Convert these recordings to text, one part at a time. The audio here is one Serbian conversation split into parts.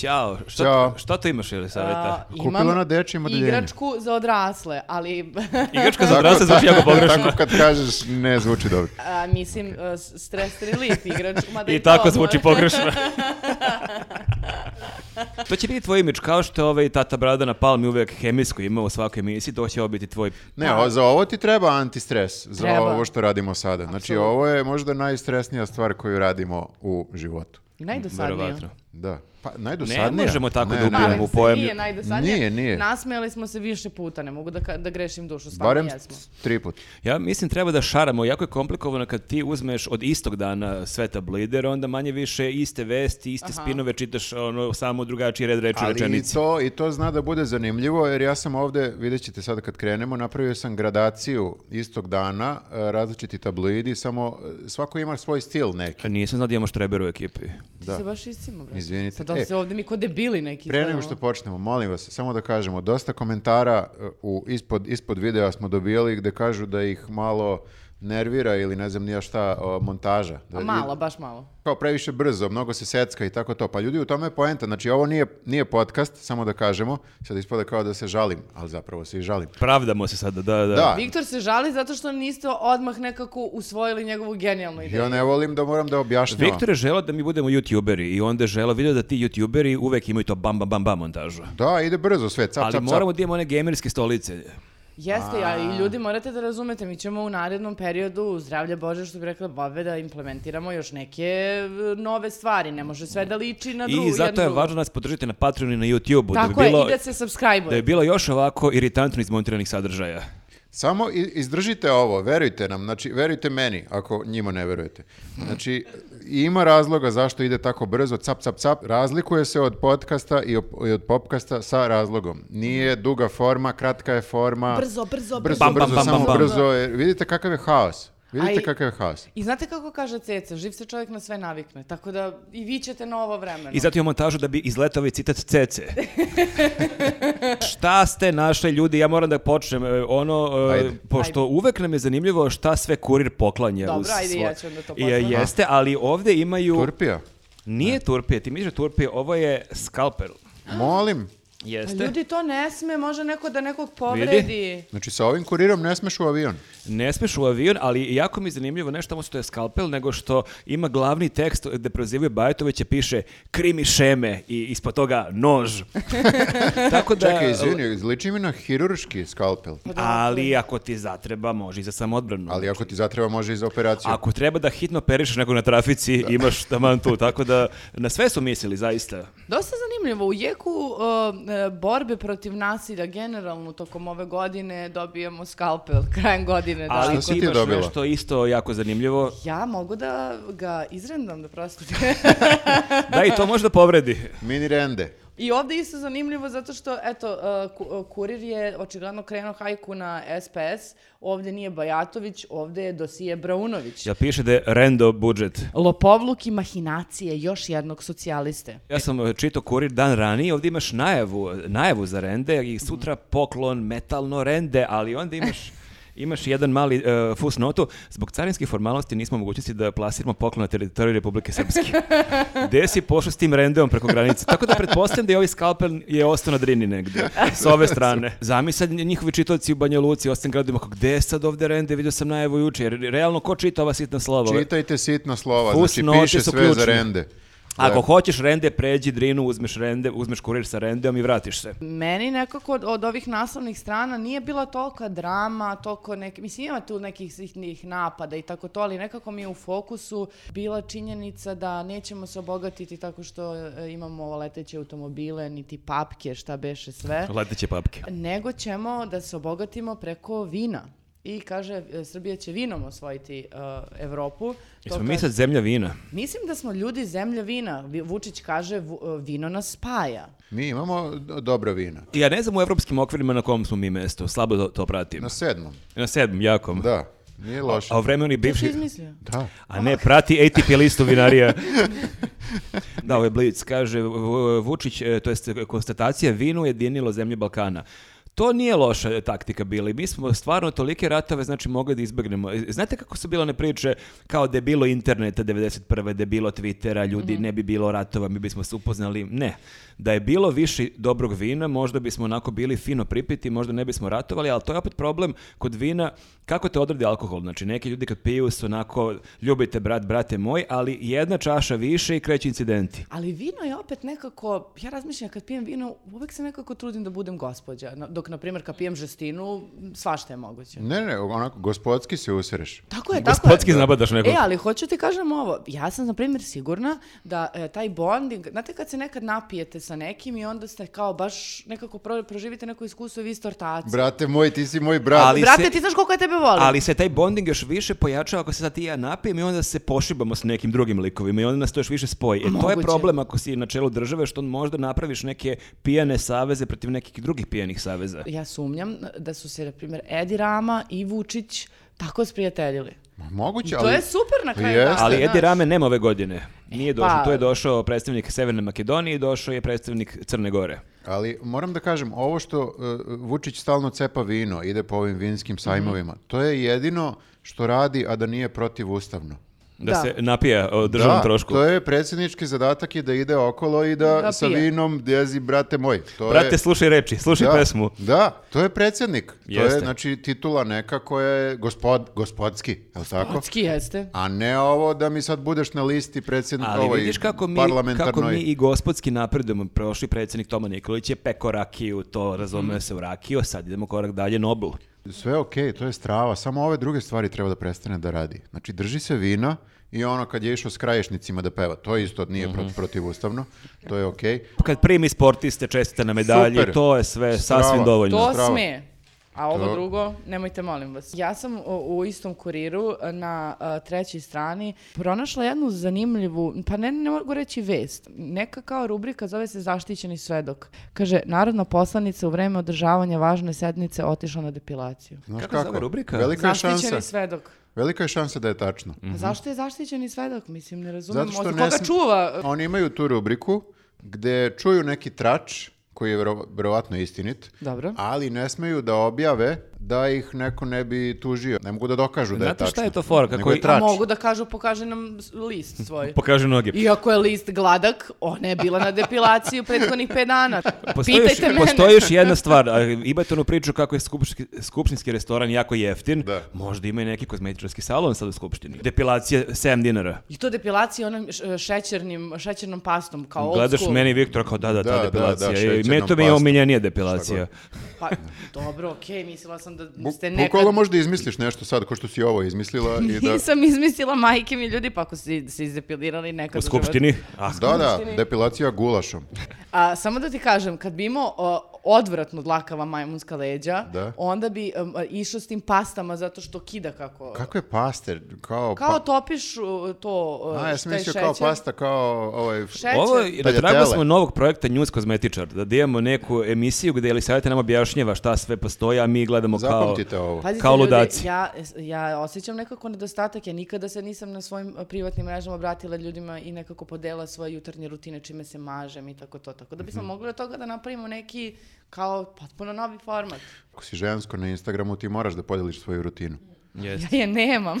Ćao, što, Ćao. što tu imaš ili savjeta? Kupila na dečjem odeljenju. Igračku za odrasle, ali Igračka za odrasle zvuči jako pogrešno. Tako ono kad kažeš ne zvuči dobro. a, mislim a, s- stres relief igrač. mada I to ono, tako odmah. zvuči pogrešno. to će biti tvoj imidž, kao što ovaj tata brada na palmi uvijek hemijsku ima u svakoj emisiji, to će ovo biti tvoj... Ne, o- za ovo ti treba antistres, za Treba. ovo što radimo sada. Znači, ovo je možda najstresnija stvar koju radimo u životu. Najdosadnije. Verovatno. Da. Pa, najdosadnija. Ne možemo tako da ne. ubijemo Molim u se, pojam. Nije najdosadnije. Nije, nije. Nasmejali smo se više puta, ne mogu da, ka- da grešim dušu. Stvarno Barem jesmo. tri put. Ja mislim treba da šaramo, jako je komplikovano kad ti uzmeš od istog dana sve tablide, jer onda manje više iste vesti, iste spinove čitaš ono, samo drugačiji red reči Ali i rečenici. to, i to zna da bude zanimljivo, jer ja sam ovdje, vidjet ćete sad kad krenemo, napravio sam gradaciju istog dana, e, različiti tablidi, samo e, svako ima svoj stil neki. Nisam znao da imamo štreber u ekipi. Da. Se baš istimo, bre. Izvinite. Sad e, E. se ovde mi ko debili neki. Pre nego izgledamo. što počnemo, molim vas, samo da kažemo, dosta komentara e, u, ispod, ispod videa smo dobijali gde kažu da ih malo nervira ili ne znam ni ja šta o, montaža. Da, A malo, baš malo. Kao previše brzo, mnogo se secka i tako to. Pa ljudi, u tome je poenta. Znači, ovo nije, nije podcast, samo da kažemo. Sad ispada kao da se žalim, ali zapravo se i žalim. Pravdamo se sada, da, da. Da. Viktor se žali zato što niste odmah nekako usvojili njegovu genijalnu ideju. Ja ne volim da moram da objašnjavam. Viktor je želao da mi budemo youtuberi i onda je želao video da ti youtuberi uvek imaju to bam bam bam bam montažu. Da, ide brzo sve, cap, Ali cap, cap. moramo da imamo one gamerske stolice. Jeste, ja, i ljudi morate da razumete, mi ćemo u narednom periodu, zdravlja Bože, što bi rekla Bobe, da implementiramo još neke e, nove stvari, ne može sve da liči na drugu. I zato je jednu drugu. važno nas podržati na Patreonu i na YouTubeu. da Tako bi je, bilo, i da se subscribe da je bilo još ovako iritantno izmontiranih sadržaja. Samo i- izdržite ovo, verujte nam, znači verujte meni ako njima ne verujete. Znači ima razloga zašto ide tako brzo, cap cap cap, razlikuje se od podcasta i, op- i od popkasta sa razlogom. Nije duga forma, kratka je forma. Brzo, brzo, brzo, Bam, bam, brzo, bam, samo bam, bam. brzo. jer vidite kakav je haos. Vidite Aj. kakav je haos. I znate kako kaže Ceca, živ se čovjek na sve navikne, tako da i vi ćete na ovo vremeno. I zato imamo montažu da bi izletao ovaj citat Cece. šta ste našli ljudi? Ja moram da počnem. e, Ono, e, Ajde. pošto uvek nam je zanimljivo šta sve kurir poklanja. Dobro, uz ajde, svoje- ja ću onda to I, e, poklanja. Jeste, ali ovde imaju... Turpija, Nije turpije, ti misliš da je turpije, ovo je skalpel. molim. Pa Jeste. Ljudi to ne sme, može neko da nekog povredi. Znači sa ovim kurirom ne smeš u avion. Ne smeš u avion, ali jako mi je zanimljivo ne samo što je skalpel, nego što ima glavni tekst gde prozivaju Bajatovića, piše krimi šeme i ispod toga nož. Tako da... Čekaj, izvini, liči mi na hirurški skalpel. Pa Ali ako ti zatreba, može i za samoodbranu. Ali ako ti zatreba može i za operaciju. Ako treba da hitno perišeš nekog na trafici, imaš taman tu. Tako da, na sve su mislili, zaista. Dosta zanimljivo, u jeku e, e, borbe protiv nasilja generalno tokom ove godine dobijemo skalpel krajem godine. da. Ali Šta si ti ti imaš dobila? nešto isto jako zanimljivo. Ja mogu da ga izrendam da prosto. Da, i to možda povredi. Mini rende. I ovdje isto zanimljivo zato što, eto, uh, ku- uh, kurir je očigledno krenuo hajku na SPS, ovdje nije Bajatović, ovdje je Dosije Braunović. Ja piše da je rendo budžet. Lopovluk i mahinacije još jednog socijaliste. Ja sam e, čitao kurir dan ranije, ovdje imaš najavu, najavu za rende i sutra poklon metalno rende, ali onda imaš Imaš jedan mali e, fusnotu. Zbog carinskih formalnosti nismo u mogućnosti da plasiramo poklon na teritoriju Republike Srpske. Gde si pošao s tim rendeom preko granice? Tako da pretpostavljam da je ovaj skalpel je ostao na drini negdje, s ove strane. Zamisad njihovi čitoci u Banja Luci, u ostim gradima, kao, gde je sad ovdje rende? Vidio sam najavu juče, jer realno ko čita ova sitna slova? Ove- Čitajte sitna slova, Fusnote znači piše su sve ključne. za rende. Ako Da. hoćeš rende, pređi drinu, uzmeš rende, uzmeš kurir sa rendeom i vratiš se. Meni nekako od, od ovih naslovnih strana nije bila tolika drama, toliko nek... Mislim, ima tu nekih sitnih napada i tako to, ali nekako mi je u fokusu bila činjenica da nećemo se obogatiti tako što e, imamo leteće automobile, niti papke, šta beše sve. Leteće papke. nego ćemo da se obogatimo preko vina. I kaže, e, Srbija će vinom osvojiti e, Evropu. To Jesmo kad- mi sad zemlja vina? Mislim da smo ljudi zemlja vina. Vi- Vučić kaže, "Vu- e, vino nas spaja. Mi imamo do- dobra vina. Ja ne znam u evropskim okvirima na kom smo mi mesto, slabo to, to pratim. Na sedmom, Na sedmom, jakom. da. Nije loše. A u vremenu i Što si bivši... izmislio? Da. A ne, prati ATP listu vinarija. da, ovaj Blitz kaže, "V- Vučić, e, to jest konstatacija, vino ujedinilo zemlje Balkana. To nije loša taktika bila i mi smo stvarno tolike ratove znači mogli da izbegnemo. Znate kako su bile one priče kao da je bilo interneta 91. da je bilo Twittera, ljudi ne bi bilo ratova, mi bismo se upoznali. Ne. Da je bilo više dobrog vina, možda bismo onako bili fino pripiti, možda ne bismo ratovali, ali to je opet problem kod vina kako te odredi alkohol. Znači neki ljudi kad piju su onako ljubite brat, brate moj, ali jedna čaša više i kreće incidenti. Ali vino je opet nekako, ja razmišljam kad pijem vino, uvek se nekako trudim da budem gospođa. No, Dok, na primjer, kad pijem žestinu, svašta je moguće. Ne, ne, onako, gospodski se usreš. Tako je, tako Gospodski je. nabadaš nekog. E, ali hoću ti kažem ovo, ja sam, na primjer, sigurna da e, taj bonding, znate kad se nekad napijete sa nekim i onda ste kao baš nekako pro- proživite neko iskustvo i vi ste ortaci. Brate moj, ti si moj brat. Ali- Brate, se- ti znaš koliko ja tebe volim. Ali se taj bonding još više pojačava ako se sad ti i ja napijem i onda se pošibamo s nekim drugim likovima i onda nas to još više spoji. E, to je Moguće. problem ako si na čelu države što možda napraviš neke pijane saveze protiv nekih drugih pijanih saveza. Ja sumnjam da su se, na primjer, Edi Rama i Vučić tako sprijateljili. Ma, Moguće, ali... To je super na kraju Jeste. dana, Ali Edi znaš. Rame nema ove godine. Nije došao, pa- to je došao predstavnik Severne Makedonije i došao je predstavnik Crne Gore. Ali moram da kažem, ovo što uh, Vučić stalno cepa vino, ide po ovim Mhm. vinskim sajmovima, to je jedino što radi, a da nije protivustavno. Da, Da. se napija o državnom Da, trošku. to je predsjednički zadatak i da ide okolo i da, Da sa pije. vinom dezi, brate moj. To Brate, je, slušaj reči, slušaj da, Znači pesmu. Da, to je predsjednik. To Jeste. je, znači, titula neka koja je gospod, gospodski, je li tako? Kocki jeste. A ne ovo da mi sad budeš na listi predsjednik Ali ovoj vidiš kako mi, parlamentarnoj. kako mi i gospodski napredujemo. Prošli predsjednik Toma Nikolić je peko rakiju, to Mhm. razume se u rakiju, a sad idemo korak dalje, Nobel. Sve okej, to je strava, samo ove druge stvari treba da prestane da radi. Znači, drži se vina i ono kad je išao s kraješnicima da peva, to isto nije Mhm. prot- protivustavno, to je okej. Kad primi sportiste, čestite na medalji, Super. to je sve Strava. sasvim dovoljno. To Zdravo. sme. A ovo To- drugo, nemojte molim vas. Ja sam u, u istom kuriru na a, trećoj strani pronašla jednu zanimljivu, pa ne, ne mogu reći vest, neka kao rubrika zove se Zaštićeni svedok. Kaže, narodna poslanica u vreme održavanja važne sednice otišla na depilaciju. Znaš Kako se zove rubrika? Velika je zaštićeni šansa. svedok. Velika je šansa da je tačno. A zašto je zaštićeni svedok? Mislim, ne razumijem. Zato što Od ne koga sm- čuva? Oni imaju tu rubriku gde čuju neki trač koji je vero- verovatno istinit, Dobro. ali ne smeju da objave da ih neko ne bi tužio. Ne mogu da dokažu da je Znate tačno. šta je to fora? Nego Kako je i- trač. Mogu da kažu, pokaže nam s- list svoj. Pokaži noge. Iako je list gladak, ona je bila na depilaciji u prethodnih 5 dana. Postoji još- Pitajte mene. postoji još jedna stvar, a, imate onu priču kako je skupški- skupštinski restoran jako jeftin, Da. možda ima i neki kozmetičarski salon sad u skupštini. Depilacije 7 dinara. I to depilacija onom š- šećernim, šećernom pastom, kao old Gledaš school. meni i Viktora kao da, da, Da, ta da, depilacija. da, I šećernom meni to mi je pastom. omiljenija depilacija. Pa, dobro, okej, mislila sam da Bu- ste nekad... Bukvalno možda izmisliš nešto sad, ko što si ovo izmislila. I da... Nisam izmislila majke mi ljudi, pa ako si se izdepilirali nekad U životu. skupštini? Ah, Da, da, depilacija gulašom. A, samo da ti kažem, kad bi imao o, odvratno dlakava majmunska leđa, Da. onda bi um, išao s tim pastama zato što kida kako... Kako je paster? Kao, Kao pa... topiš uh, to uh, A, ja sam taj mislio šećer. Pa kao pasta, kao ovaj... Šećer. Ovo je, na Tagliatelle. tragu smo novog projekta News Kozmetičar, da da imamo neku emisiju gdje Elisaveta nam objašnjava šta sve postoji, a mi gledamo kao... Zapamtite ovo. Pazite, Kao ljudi, ludaci. ja, ja osjećam nekako nedostatak, ja nikada se nisam na svojim e, privatnim mrežama obratila ljudima i nekako podela svoje jutarnje rutine čime se mažem i tako to. Tako da bismo mogli od toga da napravimo neki kao potpuno novi format. Ako si žensko na Instagramu, ti moraš da podeliš svoju rutinu. Jeste. Ja je nemam.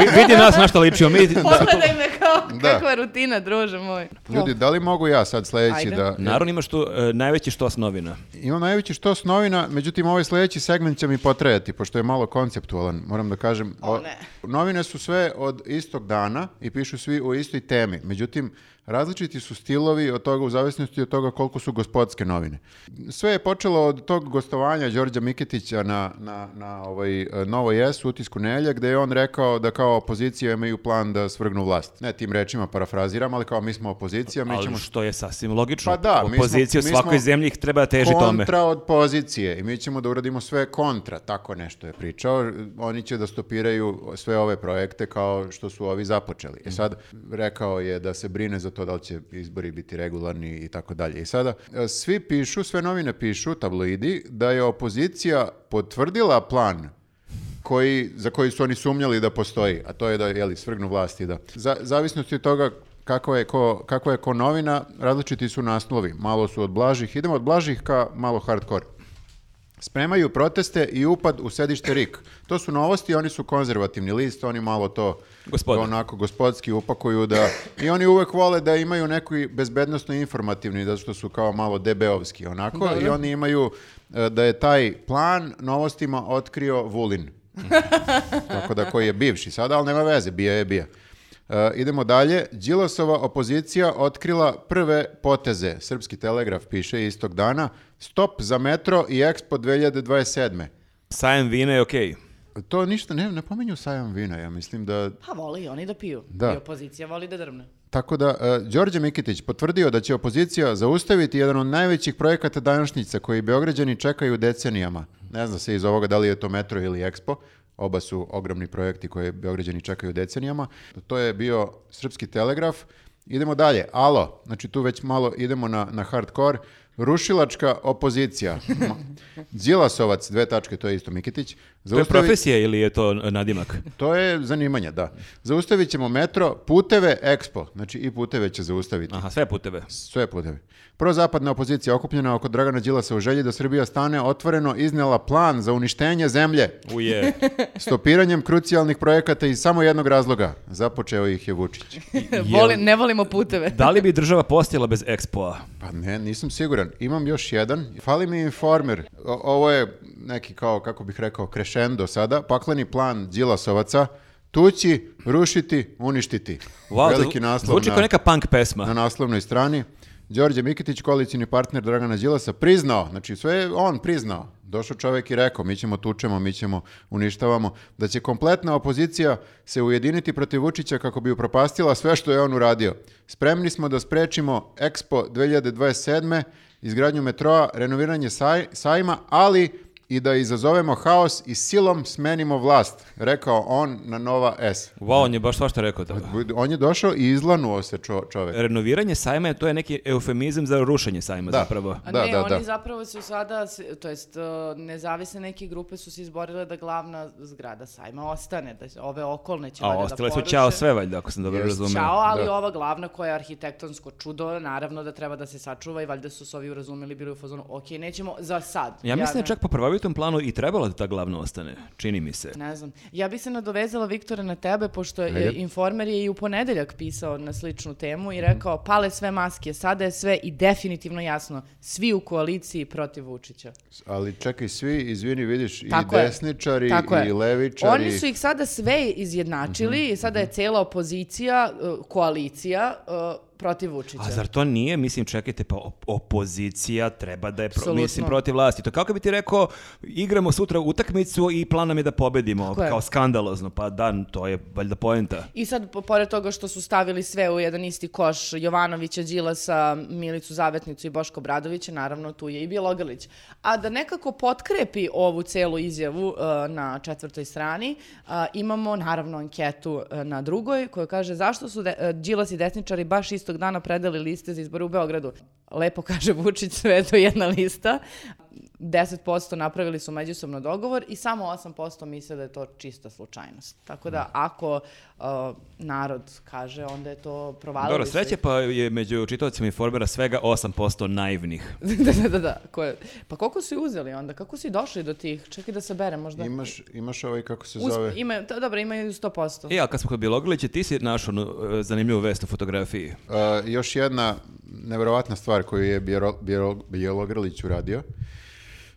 Vi- vidi nas na šta ličimo. Mi, da, Pogledaj me kao Da. kakva je rutina, druže moj. Ljudi, da li mogu ja sad sljedeći Ajde. da... Naravno imaš tu e, najveći štos novina. Imam najveći što s novina, međutim ovaj sljedeći segment će mi potrajati, pošto je malo konceptualan, moram da kažem. O, ne. Novine su sve od istog dana i pišu svi o istoj temi. Međutim, različiti su stilovi od toga u zavisnosti od toga koliko su gospodske novine. Sve je počelo od tog gostovanja Đorđa Miketića na, na, na ovaj, eh, Novoj S, utisku Nelja, gde je on rekao da kao opozicija imaju plan da svrgnu vlast. Ne tim rečima parafraziram, ali kao mi smo opozicija, Pa mi Ali ćemo što je sasvim logično. Pa da, mi smo- Opozicija u mi svakoj smo zemlji ih treba teži tome. kontra od pozicije i mi ćemo da uradimo sve kontra, tako nešto je pričao. Oni će da stopiraju sve ove projekte kao što su ovi započeli. I sad rekao je da se brine za to da li će izbori biti regularni i tako dalje. I sada e, svi pišu, sve novine pišu, tabloidi, da je opozicija potvrdila plan koji, za koji su oni sumnjali da postoji, a to je da jeli, svrgnu vlasti. Da. Za, zavisnosti od toga kako je, ko, kako je ko novina, različiti su naslovi. Malo su od blažih, idemo od blažih ka malo hardcore. Spremaju proteste i upad u sedište RIK. To su novosti, oni su konzervativni list, oni malo to Gospoda. onako gospodski upakuju da i oni uvek vole da imaju neki bezbednostno informativni zato što su kao malo debeovski onako i oni imaju e, da je taj plan novostima otkrio Vulin. Tako da koji je bivši sada, ali nema veze, bio je bio. E, idemo dalje. Đilasova opozicija otkrila prve poteze. Srpski telegraf piše istog dana. Stop za metro i Expo 2027. Sajem vina je okej. To ništa, ne, ne pominju sajam vina, ja mislim da Pa voli i oni da piju. Da. I opozicija voli da drmne. Tako da, e, Đorđe Mikitić potvrdio da će opozicija zaustaviti jedan od najvećih projekata današnjica koji Beograđani čekaju decenijama. Ne zna se iz ovoga da li je to Metro ili Expo. Oba su ogromni projekti koje Beograđani čekaju decenijama. To je bio Srpski telegraf. Idemo dalje. Alo, znači tu već malo idemo na, na hardcore. Rušilačka opozicija. Ma- Đilasovac, dve tačke, to je isto Mikitić. To je Zaustavi... profesija ili je to e, nadimak? To je zanimanje, da. Zaustavit ćemo metro, puteve, ekspo. Znači i puteve će zaustaviti. Aha, sve puteve. Sve putevi. Prozapadna opozicija okupljena oko Dragana Đilasa u želji da Srbija stane otvoreno iznela plan za uništenje zemlje Uje. stopiranjem krucijalnih projekata iz samo jednog razloga. Započeo ih je Vučić. Voli, ne volimo puteve. Da li bi država postila bez ekspoa? Pa ne, nisam siguran. Imam još jedan. Fali mi informer. O- ovo je neki kao, kako bih rekao, krešendo sada. Pakleni plan Đilasovaca. Tući, rušiti, uništiti. Wow, Veliki zvu- naslov Zvuči na- kao neka punk pesma. na naslovnoj strani. Đorđe Mikitić, koalicijni partner Dragana Đilasa, priznao, znači sve je on priznao. Došao čovjek i rekao, mi ćemo tučemo, mi ćemo uništavamo, da će kompletna opozicija se ujediniti protiv Vučića kako bi upropastila sve što je on uradio. Spremni smo da sprečimo Expo 2027. izgradnju metroa, renoviranje saj- sajma, ali i da izazovemo haos i silom smenimo vlast, rekao on na Nova S. Wow, on je baš svašta rekao toga. On je došao i izlanuo se čo- čovjek. Renoviranje sajma je to je neki eufemizam za rušenje sajma Da. zapravo. A Da, ne, da, oni da. zapravo su sada, s- to jest e, nezavisne neke grupe su se izborile da glavna zgrada sajma ostane, da se- ove okolne će A valjda da ostale su poruše. ćao sve valjda, ako sam dobro Jest. razumio. Ćao, ali Da. ova glavna koja je arhitektonsko čudo, naravno da treba da se sačuva i valjda su se ovi urazumeli bili u fazonu, ok, nećemo za sad. Ja mislim da ne- je čak po prvavitom planu i trebalo da ta glavna ostane, čini mi se. Ne znam. Ja bi se nadovezala, Viktore, na tebe, pošto je Ajde. Informer je i u ponedeljak pisao na sličnu temu i rekao, pale sve maske, sada je sve i definitivno jasno, svi u koaliciji protiv Vučića. Ali čekaj, svi, izvini, vidiš, Tako i je. desničari, Tako i je. levičari. Mhm, Oni su ih sada sve izjednačili i sada je cijela opozicija, e, koalicija e, protiv Vučića. A zar to nije, mislim, čekajte, pa op- opozicija treba da je, pro- Apsolutno. mislim, protiv vlasti. To kako bi ti rekao, igramo sutra utakmicu i plan nam je da pobedimo, Tako je. kao skandalozno, pa da, to je valjda poenta. I sad, po- pored toga što su stavili sve u jedan isti koš Jovanovića, Đilasa, Milicu Zavetnicu i Boško Bradovića, naravno tu je i Bjelogrlić. A da nekako potkrepi ovu celu izjavu e, na četvrtoj strani, a, imamo naravno anketu e, na drugoj koja kaže zašto su de- e, Đilas i desničari baš istog dana predali liste za izbore u Beogradu. Lepo kaže Vučić, sve je to jedna lista. 10% napravili su međusobno dogovor i samo 8% misle da je to čista slučajnost. Tako da ako uh, narod kaže, onda je to provalilo. Dobro, sreće pa je među čitavcima Informera svega 8% naivnih. da, da, da, da. Ko je- Pa koliko su i uzeli onda? Kako su i došli do tih? Čekaj da saberem možda. Imaš, imaš ovaj, kako se Uz- zove? ima, to, dobro, imaju 100%. E, a kad smo kod Bjelogrlića, ti si našao onu, e, zanimljivu vest u fotografiji. E, još jedna neverovatna stvar koju je Bjero, Bjero, Bjelogrlić uradio.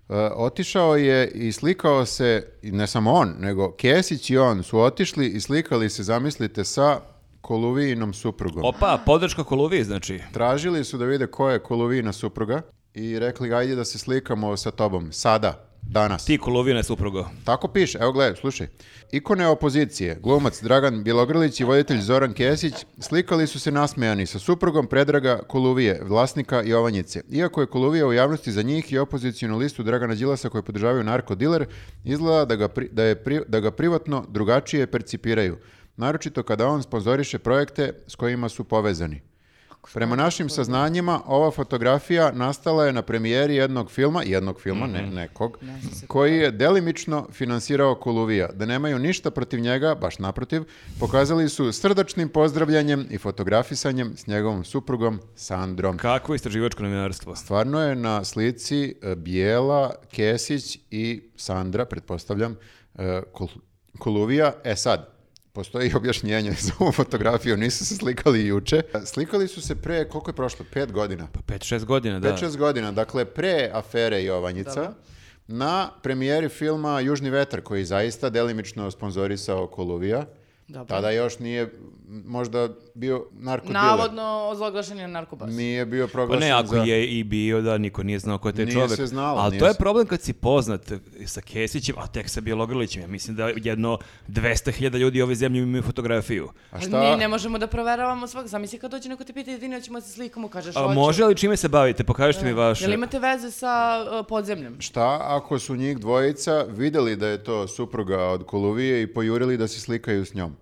E, otišao je i slikao se, i ne samo on, nego Kesić i on su otišli i slikali se, zamislite, sa Koluvijinom suprugom. Opa, podrška Koluviji, znači. Tražili su da vide ko je Koluvijina supruga i rekli, ajde da se slikamo sa tobom, sada, danas. Ti Koluvina je suprugo. Tako piše, evo gledaj, slušaj. Ikone opozicije, glumac Dragan Bjelogrlić i voditelj Zoran Kesić slikali su se nasmejani sa suprugom Predraga Koluvije, vlasnika Jovanjice. Iako je Koluvija u javnosti za njih i opozicijnu listu Dragana Đilasa koju podržavaju narkodiler, izgleda da ga, pri- da, je pri- da ga privatno drugačije percipiraju. Naročito kada on sponzoriše projekte s kojima su povezani. tako. Prema našim saznanjima, ova fotografija nastala je na premijeri jednog filma, jednog filma, ne nekog, koji je delimično finansirao Koluvija. Da nemaju ništa protiv njega, baš naprotiv, pokazali su srdačnim pozdravljanjem i fotografisanjem s njegovom suprugom Sandrom. Kako istraživačko novinarstvo? Stvarno je na slici e, Bijela, Kesić i Sandra, pretpostavljam, e, Kol- Koluvija. E sad, postoji objašnjenje za ovu fotografiju, nisu se slikali juče. E, Slikali su se pre, koliko je prošlo? Pet godina. 5-6 Pa godina, da. Pet, šest godina, dakle pre afere Jovanjica. Na premijeri filma Južni vetar, koji je zaista delimično sponzorisao Koluvija. Dobro. Tada još nije možda bio narkodiler. Navodno, ozloglašen je narkobas. Nije bio Pa proglašen ne, ako za... je i bio, da niko nije znao ko je taj Nije čovjek. se znalo, Ali nije to je se- problem kad si poznat sa Kesićem, a tek sa Bjelogrlićem. Ja mislim da jedno 200.000 ljudi ove zemlje imaju fotografiju. A Ali šta? Pa Mi ne možemo da proveravamo svak. Zamisli kad dođe neko te pita, izvini, hoćemo da se slikamo, kažeš A, hoću. može li čime se bavite? Pokažite mi vaše. E, Jel imate veze sa uh, podzemljem? Šta ako su njih dvojica vidjeli da je to supruga od Koluvije i pojurili da se slikaju s njom?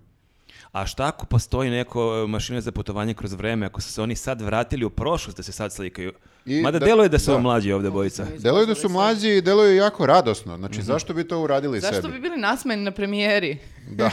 A šta ako postoji neko e, mašina za putovanje kroz vreme, ako su se oni sad vratili u prošlost da se sad slikaju? I Mada da- deluje da su da. da. mlađi ovde bojica. Deluju da su mlađi i deluju jako radosno. Znači, Mhm. zašto bi to uradili Zašto bi sebi? bili nasmeni na premijeri? Da.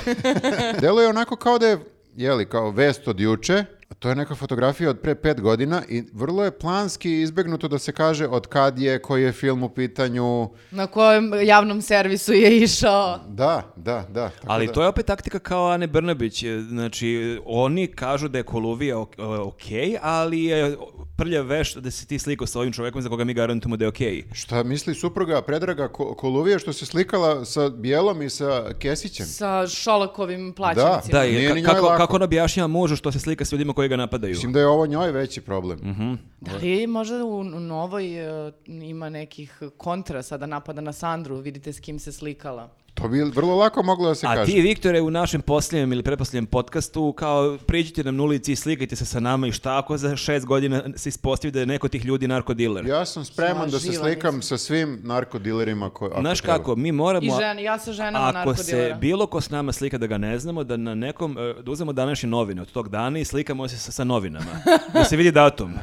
Deluje onako kao da je, jeli, kao vest od juče, a to je neka fotografija od pre pet godina i vrlo je planski izbegnuto da se kaže od kad je, koji je film u pitanju. Na kojem javnom servisu je išao? Da, da, da. Tako Ali da- to je opet taktika kao Ane Brnabić. e, Znači, oni kažu da je Koluvija ok, e, okej, ali je prlja veš da si ti slikao sa ovim čovjekom za koga mi garantujemo da je okej. Šta misli supruga Predraga Ko- Koluvije što se slikala sa Bijelom i sa Kesićem? Sa Šolakovim plaćenicima? Da, i Nije ka- ni njoj kako, lako. kako ona objašnjava mužu što se slika s ljudima koji ga napadaju? Mislim da je ovo njoj veći problem. Mhm. Da li možda u u novoj e, ima nekih kontra sada napada na Sandru, vidite s kim se slikala. To bi vrlo lako moglo da se A kaže. ti, Viktore, u našem posljednjem ili preposljednjem podcastu, kao priđite nam na ulici i slikajte se sa nama i šta ako za šest godina se ispostavi da je neko od tih ljudi narkodiler? Ja sam spreman da se Slaživa slikam sa svim narkodilerima koji... ako Znaš treba. kako, mi I moramo... žene, ja sa ženama Ako se narkodilera. bilo ko s nama slika da ga ne znamo, da na nekom, e, da uzmemo današnje novine od tog dana i slikamo se sa, sa novinama. Da se vidi datum.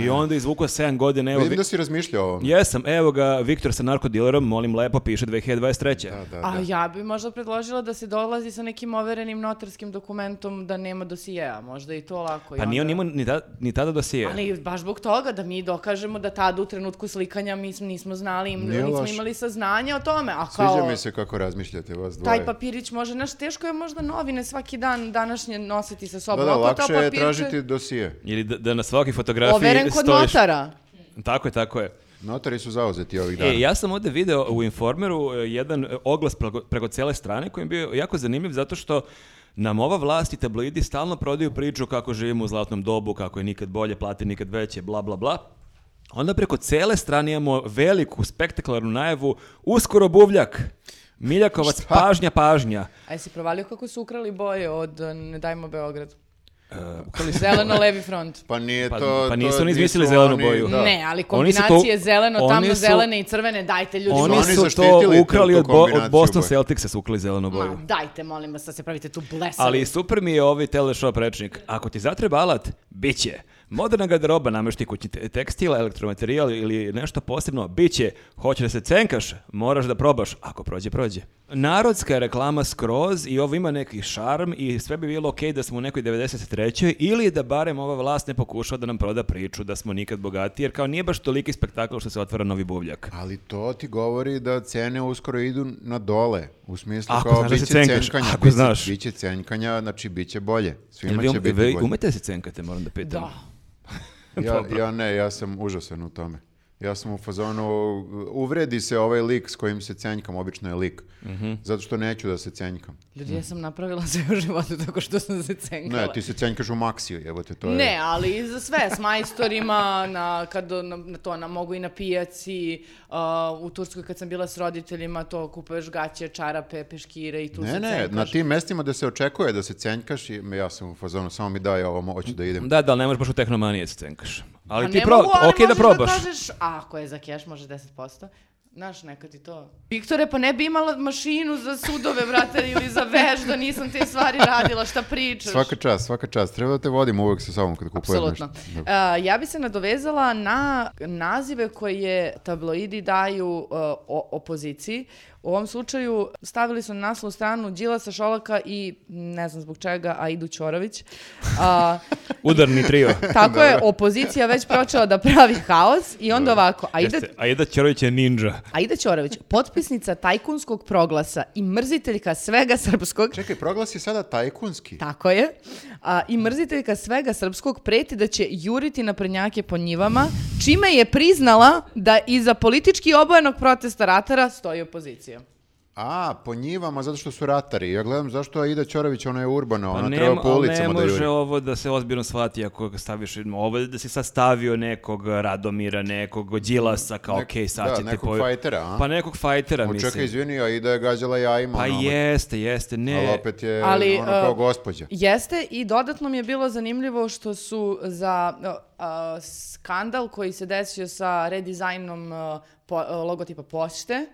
I onda izvuko 7 godina, evo... Vidim Vi... da si razmišljao o ovom. Jesam, evo ga, Viktor sa narkodilerom, molim lepo, piše 2023. Da, da, A da. ja bi možda predložila da se dolazi sa nekim overenim notarskim dokumentom da nema dosijeja, možda i to lako. i Pa nije on onda- imao ni, ta, ni tada dosije. Ali baš zbog toga da mi dokažemo da tada u trenutku slikanja mi smo- nismo znali, im- Nije nismo loše. imali saznanja o tome, a kao... Sviđa mi se kako razmišljate vas dvoje. Taj pa- papirić može, znaš, teško je možda novine svaki dan današnje nositi sa Da, sobom. da, Ako pa to lakše je papirče- tražiti dosije. Ili da, da na svaki fotografiji Overen kod stojiš- notara. Tako je, tako je. Notari su zauzeti ovih dana. E, ja sam ovdje video u Informeru e, jedan e, oglas preko, preko cele strane koji je bio jako zanimljiv zato što nam ova vlast i tablidi stalno prodaju priču kako živimo u zlatnom dobu, kako je nikad bolje, plate nikad veće, bla, bla, bla. Onda preko cele strane imamo veliku, spektakularnu najavu, uskoro buvljak, Miljakovac, pažnja, pažnja. A jesi provalio kako su ukrali boje od eh, Ne dajmo Beograd? E, ukrali su- Zeleno-levi front. Pa nije Pa- to... pa to nisu oni izmislili nisu zelenu oni- boju. da. Ne, ali Oni su to- kombinacije zeleno, oni tamno, su- zelene i crvene, dajte ljudi. Oni Oni su to zaštitili tu ukrali od, bo- od kombinaciju Boston boja. Celticsa su ukrali zelenu boju. Ma, dajte, molim vas, sad se pravite tu blesali. Ali super mi je ovaj teleshop rečnik. Ako ti zatreba alat, bit će. Moderna garderoba, namješti kućni te- tekstil, elektromaterijal ili nešto posebno, bit će. Hoćeš da se cenkaš, moraš da probaš. Ako prođe, prođe. Narodska je reklama skroz i ovo ima neki šarm i sve bi bilo okej da smo u nekoj 93. ili da barem ova vlast ne pokušava da nam proda priču da smo nikad bogati, jer kao nije baš toliki spektakl što se otvara novi buvljak. Ali to ti govori da cene uskoro idu na dole. U smislu Ako kao znaš da se biće cenkaš, cenkanja. ako biće, znaš. Biće cenkanja, znači biće bolje. Jel Svima vi um- će biti vi bolje. umete da se cenkate, moram da pitam? Da. Ja, ja ne, ja sam užasan u tome. Ja sam u fazonu, uvredi se ovaj lik s kojim se cenjkam, obično je lik. Mhm. Zato što neću da se cenjkam. Ljudi, ja sam napravila sve u životu tako što sam se cenkala. Ne, ti se cenjkaš u maksiju, evo te to je. Ne, ali i za sve, s majstorima, na, kad, na, na to, na, mogu i na pijaci, a, u Turskoj kad sam bila s roditeljima, to kupuješ gaće, čarape, peškire i tu Ne, se ne, cenkaš. na tim mestima da se očekuje da se cenjkaš, i- ja sam u fazonu, samo mi daj ovo, hoću da idem. Da, da, ali ne možeš baš u tehnomanije se cenkaš. Ali Pa ti ne pro, mogu, ali okej da možeš probaš. kažeš, a, ako je za keš, može 10%. Znaš, nekad i to. Viktore, pa ne bi imala mašinu za sudove, brate, ili za veš, da nisam te stvari radila, šta pričaš? Svaka čast, svaka čast. Treba da te vodim uvek sa sobom kad kupujem Apsolutno. nešto. Da. A, ja bi se nadovezala na nazive koje tabloidi daju e, o- opoziciji. U ovom slučaju stavili su na naslovnu stranu Đilasa Šolaka i ne znam zbog čega, a Idu Ćorović. A, Udarni trio. tako je opozicija već počela da pravi haos i onda ovako, a ide, Jeste, a Ida Ćorović je ninja. Aida Ćorović, potpisnica tajkunskog proglasa i mrziteljka svega srpskog, Čekaj, proglas je sada tajkunski. tako je, a, i mrziteljka svega srpskog preti da će juriti naprednjake po njivama, čime je priznala da iza politički obojenog protesta ratara stoji opozicija. A, po njivama, zato što su ratari. Ja gledam zašto Aida Ćorović, ona je urbana, Pa ona ne, treba po Pa ali ne ulicama da može juri. ovo da se ozbiljno shvati ako ga staviš, ovo je da si sad stavio nekog Radomira, nekog Đilasa, kao Nek- okej, sad da, ćete... nekog fajtera, a? Pa nekog fajtera, mislim. Čekaj, izvini, Aida je gađala jajima. Pa ono, jeste, jeste, ne. Ali opet je Ali, ono kao uh, gospođa. Jeste i dodatno mi je bilo zanimljivo što su za a, a, skandal koji se desio sa redizajnom a, po- a, logotipa pošte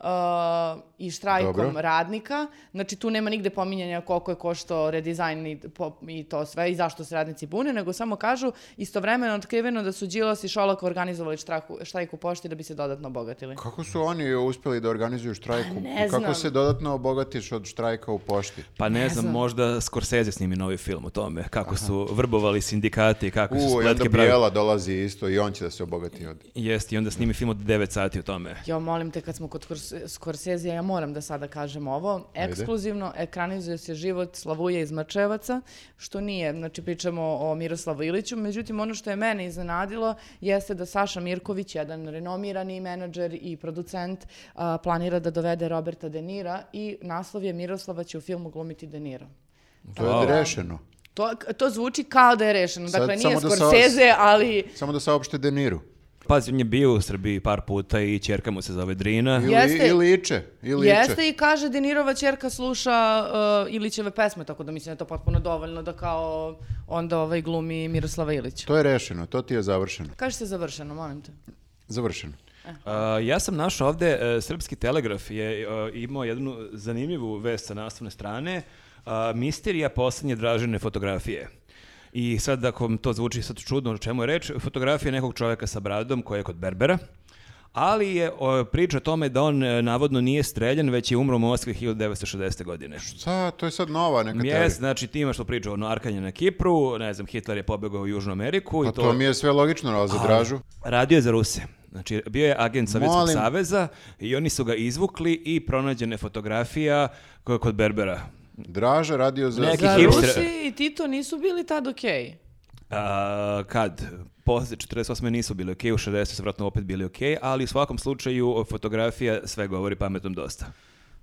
a, i štrajkom Dobro. radnika. Znači tu nema nigde pominjanja koliko je koštao redizajn i, po- i to sve i zašto se radnici bune, nego samo kažu istovremeno je otkriveno da su Đilas i Šolak organizovali štraku, štrajk u pošti da bi se dodatno obogatili. Kako su oni uspjeli da organizuju štrajk? u- Pa ne Kako znam. se dodatno obogatiš od štrajka u pošti? Pa ne, znam, možda Scorsese snimi novi film o tome, kako su vrbovali sindikati, kako su U, i onda spletke pravili. Bijela dolazi isto i on će da se obogati od... Jeste, i onda snimi film od 9 sati o tome. Jo, molim te, kad smo kod Scorse- Scorsesea, ja moram da sada kažem ovo. Ajde. Ekskluzivno ekranizuje se život Slavuja iz Mrčevaca, što nije, znači pričamo o Miroslavu Iliću. Međutim, ono što je mene iznenadilo jeste da Saša Mirković, jedan renomirani menadžer i producent, a, planira da dovede Roberta De Nira i naslov je Miroslava će u filmu glumiti De Niro. To je Wow. rešeno. To, to zvuči kao da je rešeno. Sad Dakle, samo nije da sa- Scorsese, ali... Samo da saopšte Deniru. Pazi, on je bio u Srbiji par puta i čerka mu se zove Drina. Ili, Jeste. I liče. I liče. Jeste i kaže Denirova čerka sluša uh, Ilićeve pesme, tako da mislim da je to potpuno dovoljno da kao onda ovaj glumi Miroslava Ilića. To je rešeno, to ti je završeno. Kaže se završeno, molim te. Završeno. A, ja sam našao ovde, e, Srpski telegraf je e, imao jednu zanimljivu vest sa naslovne strane, a, misterija posljednje dražene fotografije. I sad, ako vam to zvuči sad čudno o čemu je reč, fotografija nekog čovjeka sa bradom koji je kod Berbera, ali je o, priča o tome da on e, navodno nije streljan, već je umro u Moskvi 1960. godine. Šta, to je sad nova neka Jes, teorija. znači ti imaš tu priču o narkanju na Kipru, ne znam, Hitler je pobegao u Južnu Ameriku. Pa i to, to mi je sve logično, ali za dražu. Radio je za Ruse. Znači, bio je agent Sovjetskog Molim. saveza i oni su ga izvukli i pronađene fotografija ko- kod Berbera. Draža radio za... Neki Za hipster- Rusi i Tito nisu bili tad okej. A, kad? Posle 48. nisu bili okej, u 60. su vratno opet bili okej, ali u svakom slučaju fotografija sve govori pametnom dosta.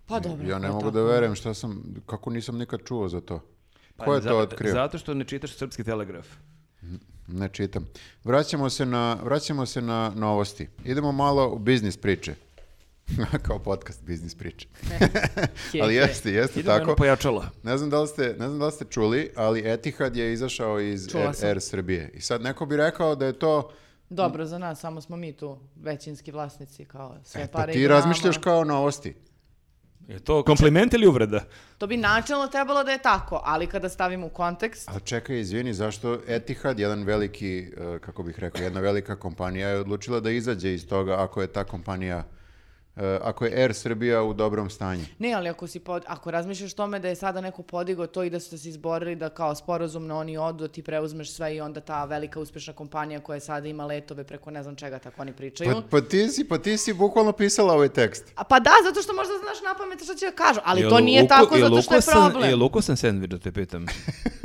Pa dobro. Ja ne ako je mogu da tako. verujem šta sam, kako nisam nikad čuo za to. Ko je Pa za- to otkrio? Zato što ne čitaš Srpski telegraf. Ne čitam. Vraćamo se na, vraćamo se na novosti. Idemo malo u biznis priče. Kao podcast biznis priče. Ali jeste, jeste Idemo tako. jedno pojačalo. Ne znam, da li ste, ne znam da li ste čuli, ali Etihad je izašao iz Čula sam. Air, Air Srbije. I sad neko bi rekao da je to... Dobro za nas, samo smo mi tu većinski vlasnici kao sve Pa pare ti idu nama. razmišljaš kao novosti. Je to kompliment ili uvreda? To bi načelno trebalo da je tako, ali kada stavimo u kontekst, Ali čekaj, izvini, zašto Etihad, jedan veliki, eh, kako bih rekao, jedna velika kompanija je odlučila da izađe iz toga ako je ta kompanija, eh, ako je Air Srbija u dobrom stanju. Ne, ali ako, si pod, ako razmišljaš tome da je sada neko podigao to i da ste se izborili da kao sporazumno oni odu, ti preuzmeš sve i onda ta velika uspješna kompanija koja sada ima letove preko ne znam čega, tako oni pričaju. Pa, pa ti si, pa ti si bukvalno pisala ovaj tekst. A pa da, zato što možda znaš na pamet što će da kažu, ali Jel to nije uko- tako jel zato što je ukusan- problem. Jel ukusan sandvič, da te pitam?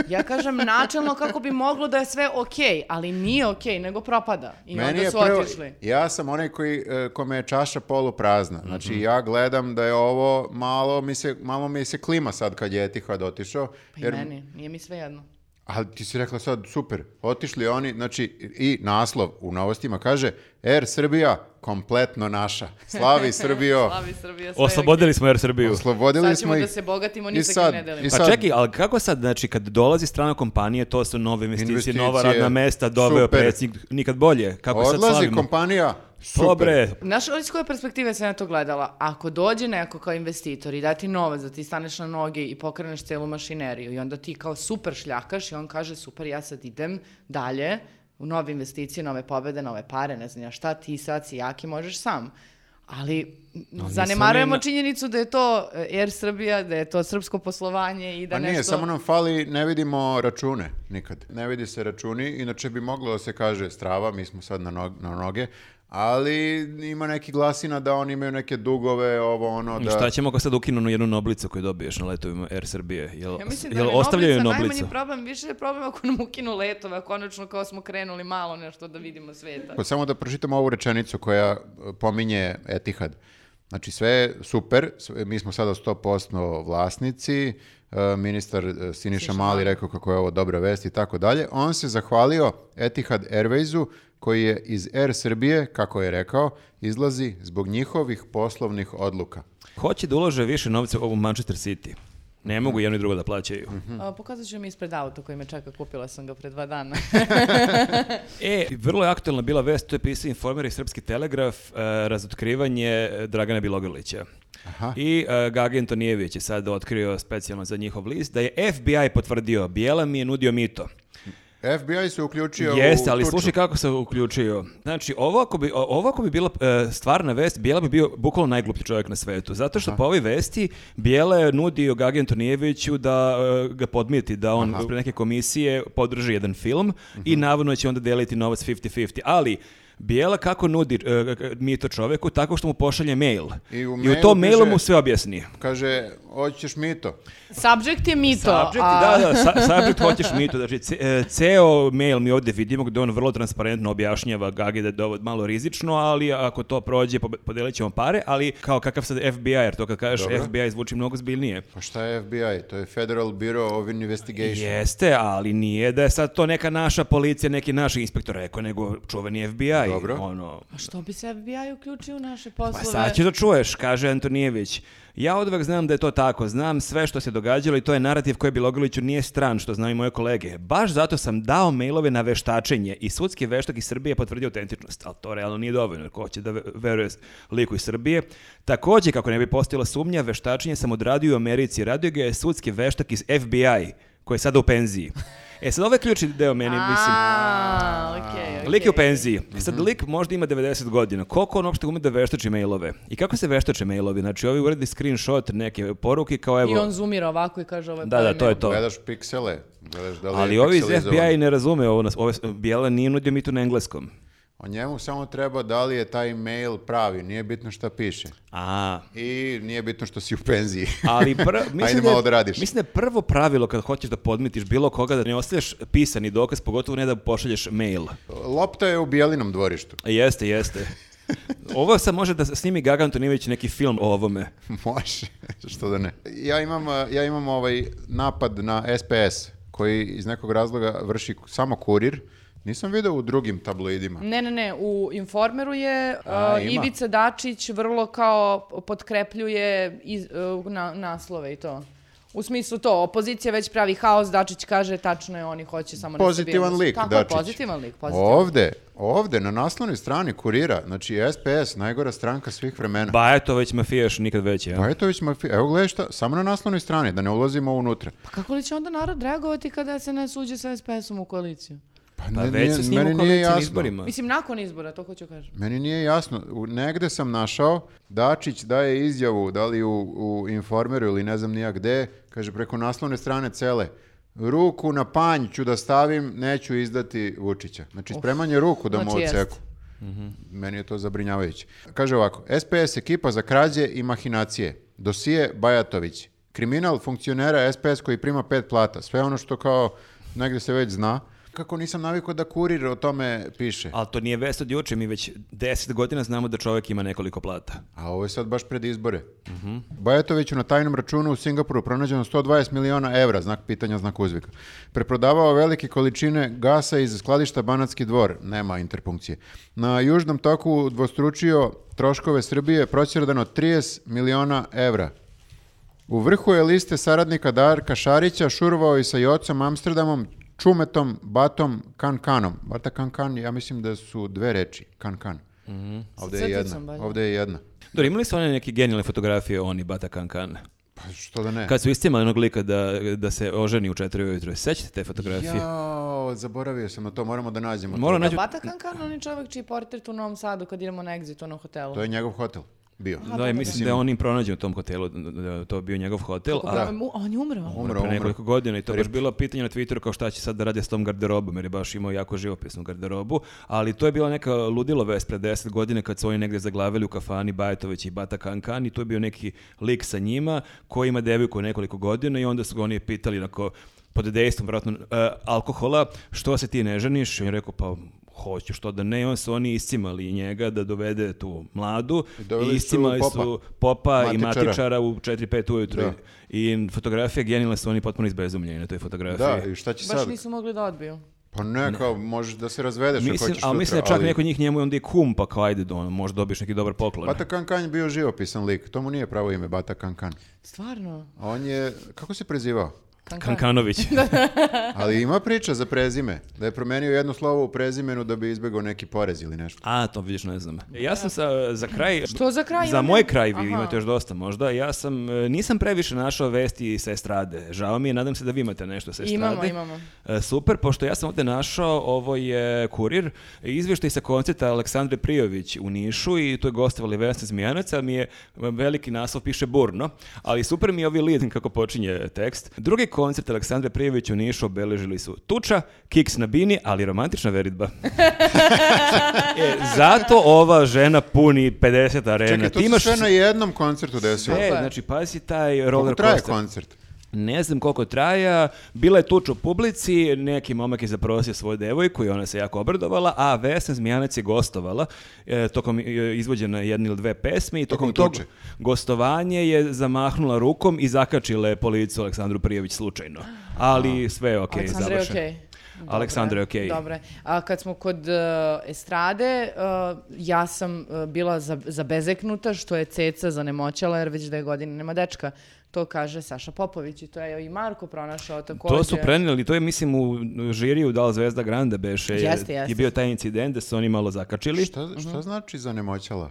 Ja kažem načelno kako bi moglo da je sve okej, ali nije okej, nego propada. I onda su prvo- otišli. ja sam onaj koji, eh, kome je čaša poluprazna. Znači, Mhm. ja gledam da je ovo, malo mi, se, malo mi se klima sad kad je Etihad otišao. Pa i meni, nije mi sve jedno. Ali ti si rekla sad, super, otišli oni, znači i naslov u novostima kaže Air Srbija kompletno naša. Slavi Srbijo, Slavi Srbija, sve je Oslobodili smo Air Srbiju. okej. oslobodili Sad ćemo smo da ih. se bogatimo, I ni sa sad- kim ne delimo. i Pa sad- čekaj, ali kako sad, znači, kad dolazi strana kompanija, to su nove investicije, Investicije, nova radna mesta, doveo super. predsjednik, nikad bolje. Kako sad Odlazi slavimo? Pa kompanija, Dobre, Znaš od iz koje perspektive sam ja to gledala? Ako dođe neko kao investitor i da ti novac, da ti staneš na noge i pokreneš celu mašineriju i onda ti kao super šljakaš i on kaže super ja sad idem dalje u nove investicije, nove pobede, nove pare, ne znam ja šta, ti sad si jaki, možeš sam. Ali m, nisam zanemarujemo ni na- činjenicu da je to e, Air Srbija, da je to srpsko poslovanje i da Pa nešto... nije, samo nam fali, ne vidimo račune nikad. Ne vidi se računi, inače bi moglo da se kaže strava, mi smo sad na, nog- na noge, ali ima neki glasina da oni imaju neke dugove, ovo ono da... Šta ćemo ako sad ukinu na jednu noblicu koju dobiješ na letovima Air Srbije? Jel, Ja mislim da jel nam je ostavljaju noblica noblicu? najmanji problem, više je problem ako nam ukinu letove, konačno kao smo krenuli malo nešto da vidimo sveta. Pa Samo da pročitam ovu rečenicu koja e, pominje Etihad. Znači sve je super, sve- mi smo sada 100% vlasnici, e, ministar e, Siniša Mali rekao kako je ovo dobra vest i tako dalje. On se zahvalio Etihad Airwaysu koji je iz Air Srbije, kako je rekao, izlazi zbog njihovih poslovnih odluka. Hoće da ulože više novca u ovu Manchester City. Ne mogu jedno i drugo da plaćaju. A, pokazat ću mi ispred auta koji me čeka, kupila sam ga pre dva dana. E, vrlo je aktualna bila vest, to je pisao informer i Srpski telegraf, e, razotkrivanje e, Dragana Bilogrlića. I e, Gagin Tonijević je sad otkrio specijalno za njihov list da je FBI potvrdio, Bijela mi je nudio mito. FBI se uključio Jeste, u ali tuču. slušaj kako se uključio. Znači, ovo ako bi, o- ovo ako bi bila e, stvarna vest, Bijela bi bio bukvalno najgluplji čovjek na svetu. Zato što po ovoj vesti Bijela je nudio Gagi Antonijeviću da e, ga podmiti, da on pre neke komisije podrži jedan film i Mhm. navodno će onda deliti novac 50-50. Ali, Bijela kako nudi e, k- mito čoveku? Tako što mu pošalje mail. I u I u mailu tom mailu piše- mu sve objasni. Kaže, hoćeš mito? Subject je mito. Subject, da, da, sa- subject hoćeš mitu. Znači, ce- e, ceo mail mi ovdje vidimo gdje on vrlo transparentno objašnjava Gagi da je ovo malo rizično, ali ako to prođe, pobe- podelit ćemo pare, ali kao kakav sad FBI, jer to kad kažeš Dobro. FBI zvuči mnogo zbiljnije. Pa šta je FBI? To je Federal Bureau of Investigation. Jeste, ali nije da je sad to neka naša policija, neki naš inspektor rekao, nego čuveni FBI. Dobro. Ono, A što bi se FBI uključio u naše Pa poslove? sad ćeš da čuješ, kaže Antonijević. Ja odvek znam da je to tako, znam sve što se događalo i to je narativ koji Bilogrliću nije stran, što znaju i moje kolege. Baš zato sam dao mailove na veštačenje i sudski veštak iz Srbije je potvrdio autentičnost, ali to realno nije dovoljno, jer ko će da ve- veruje liku iz Srbije. Takođe, kako ne bi postojala sumnja, veštačenje sam odradio u Americi, radio ga je sudski veštak iz FBI, koji je sada u penziji. E sad ovaj ključni deo meni, mislim, A, okej, okej. Mhm. Lik je u penziji. E Sad lik možda ima 90 godina. Koliko on uopšte ume da veštači mailove? I kako se veštače mailovi? Znači, ovi uredi screenshot neke poruke kao evo... I on zoomira ovako i kaže ovo je Da, da, to je to. Gledaš piksele, gledaš da li je Ali ovi iz pikselizovan. FBI ne razume ovo. Nas, ove, Bijela nije nudio mi tu na engleskom. O njemu samo treba da li je taj mail pravi, nije bitno šta piše. A, I nije bitno što si u penziji. ali pr- mislim, da malo da je, radiš. mislim da je prvo pravilo kad hoćeš da podmitiš bilo koga da ne ostavljaš pisani dokaz, pogotovo ne da pošalješ mail. E, Lopta je u bijelinom dvorištu. Jeste, jeste. Ovo sad može da snimi Gaga Antonijević neki film o ovome. Može, što da ne. Ja imam, eh, ja imam ovaj napad na SPS koji iz nekog razloga vrši samo kurir. Nisam video u drugim tabloidima. Ne, ne, ne, u Informeru je A, uh, ima. Ivica Dačić vrlo kao potkrepljuje iz, uh, na, naslove i to. U smislu to, opozicija već pravi haos, Dačić kaže tačno je, oni hoće samo Pozitivan nestabilnost. lik, Tako, ono- je, Dačić. pozitivan lik, pozitivan. Ovde, ovde, na naslovnoj strani kurira, znači SPS, najgora stranka svih vremena. Ba, eto, već mafijaš nikad veći, ja? Bajatović mafi- evo gledaj šta, samo na naslovnoj strani, da ne ulazimo unutra. Pa kako li će onda narod reagovati kada se ne suđe sa SPS-om u koaliciju? Pa ne- već nije- su s njim meni u nije koalicijnim jasno. izborima. Mislim, nakon izbora, to hoću kažem. Meni nije jasno, u, negde sam našao, Dačić daje izjavu, da li u, u informeru ili ne znam nija gde, kaže preko naslovne strane cele, ruku na panj ću da stavim, neću izdati Vučića. Znači spremanje ruku da mu znači jest. odseku. Meni je to zabrinjavajuće. Kaže ovako, SPS ekipa za krađe i mahinacije. Dosije Bajatović. Kriminal funkcionera SPS koji prima pet plata. Sve ono što kao negde se već zna. Kako nisam navikao da kurir o tome piše. Ali to nije vest od juče, mi već 10 godina znamo da čovjek ima nekoliko plata. A ovo je sad baš pred izbore. Bajatoviću na tajnom računu u Singapuru pronađeno 120 miliona evra, znak pitanja, znak uzvika. Preprodavao velike količine gasa iz skladišta Banatski dvor, nema interpunkcije. Na južnom toku dvostručio troškove Srbije procjerdano 30 miliona evra. U vrhu je liste saradnika Darka Šarića šurvao i sa Jocom Amsterdamom, Čumetom, Batom, Kankanom. Bata Kankan, ja mislim da su dve reči, Kankan. Ovdje je crticom jedna. valjda. Ovdje je jedna. Dobro, imali su one neke genijalne fotografije oni, Bata Kankana? Pa što da ne? Kad su istimali onog lika da, da se oženi u četiri ujutro. Sećate te fotografije? Jao, zaboravio sam na to, moramo da nađemo. to. Moram naći- Bata Kankan, on je čovjek čiji portret u Novom Sadu kad idemo na exit, ono hotelu. To je njegov hotel bio. Da, i pa. mislim da je on im pronađen u tom hotelu, da je to bio njegov hotel, Kako a pravi- mu- on je umro. Umro, pre umro. nekoliko godina i to je baš bilo pitanje na Twitteru kao šta će sad da rade s tom garderobom, jer je baš imao jako živopisnu garderobu, ali to je bila neka ludilo vest pre 10 godine kad su oni negdje zaglavili u kafani Bajatović i Bata Kankan i tu je bio neki lik sa njima koji ima devojku nekoliko godina i onda su ga oni pitali onako pod dejstvom vjerojatno e, alkohola što se ti ne ženiš i on je rekao pa hoću što da ne, I onda su oni iscimali njega da dovede tu mladu Doveli i su iscimali popa. su popa i Matičara. matičara večera u 4-5 ujutru. Da. I fotografije genijalne su oni potpuno izbezumljeni na toj Da, fotografiji. i šta će Baš sad? nisu mogli da odbiju. Pa ne, kao možeš da se razvedeš ako Mislim, hoćeš ali sutra, mislim da čak ali- neko njih njemu je onda i kum, pa kao ajde, ono, možda dobiješ neki dobar poklon. Bata Kankan je bio živopisan lik, to mu nije pravo ime, Bata Kankan. Stvarno? On je, kako se prezivao? Kankan. Kankanović. Ali ima priča za prezime, da je promenio jedno slovo u prezimenu da bi izbjegao neki porez ili nešto. A, to vidiš, ne znam. E, Ja sam sa, za kraj... Što za kraj Za imam moj ja? kraj vi Aha. imate još dosta možda. Ja sam, e, nisam previše našao vesti sa estrade. Žao mi je, nadam se da vi imate nešto sa estrade. Imamo, imamo. E, Super, pošto ja sam ovdje našao, ovo je kurir, izvještaj sa koncerta Aleksandre Prijović u Nišu i tu je gostovali Vesna Zmijanac, ali mi je veliki naslov piše burno, ali super mi je ovi lid kako počinje tekst. Drugi koncert Aleksandre Prijović u Nišu obeležili su Tuča, Kiks na Bini, ali romantična veritba. E, zato ova žena puni 50 arena. Čekaj, to Ti se imaš sve na jednom koncertu desilo. sve, znači pazi taj Koliko roller traje coaster. koncert? Ne znam koliko traja, bila je tuč u publici, neki momak je zaprosio svoju devojku i ona se jako obrdovala, a Vesna Zmijanac je gostovala, e, tokom e, izvođena jedne ili dve pesme i tokom, Tokom tog tuče. gostovanje je zamahnula rukom i zakačila je policu Aleksandru Prijević slučajno. Ali sve je okej, Aleksandra je završeno. okej. Aleksandra je Dobro, okej. Dobro. A kad smo kod e, estrade, e, ja sam e, bila za- zabezeknuta što je Ceca zanemoćala jer već dve godine nema dečka. To kaže Saša Popović i to je i Marko pronašao također. To su preneli, to je mislim u žiriju da li Zvezda Granda beše, je- Jeste, jeste. je bio taj incident da su oni malo zakačili. Šta, Mhm. šta znači zanemoćala?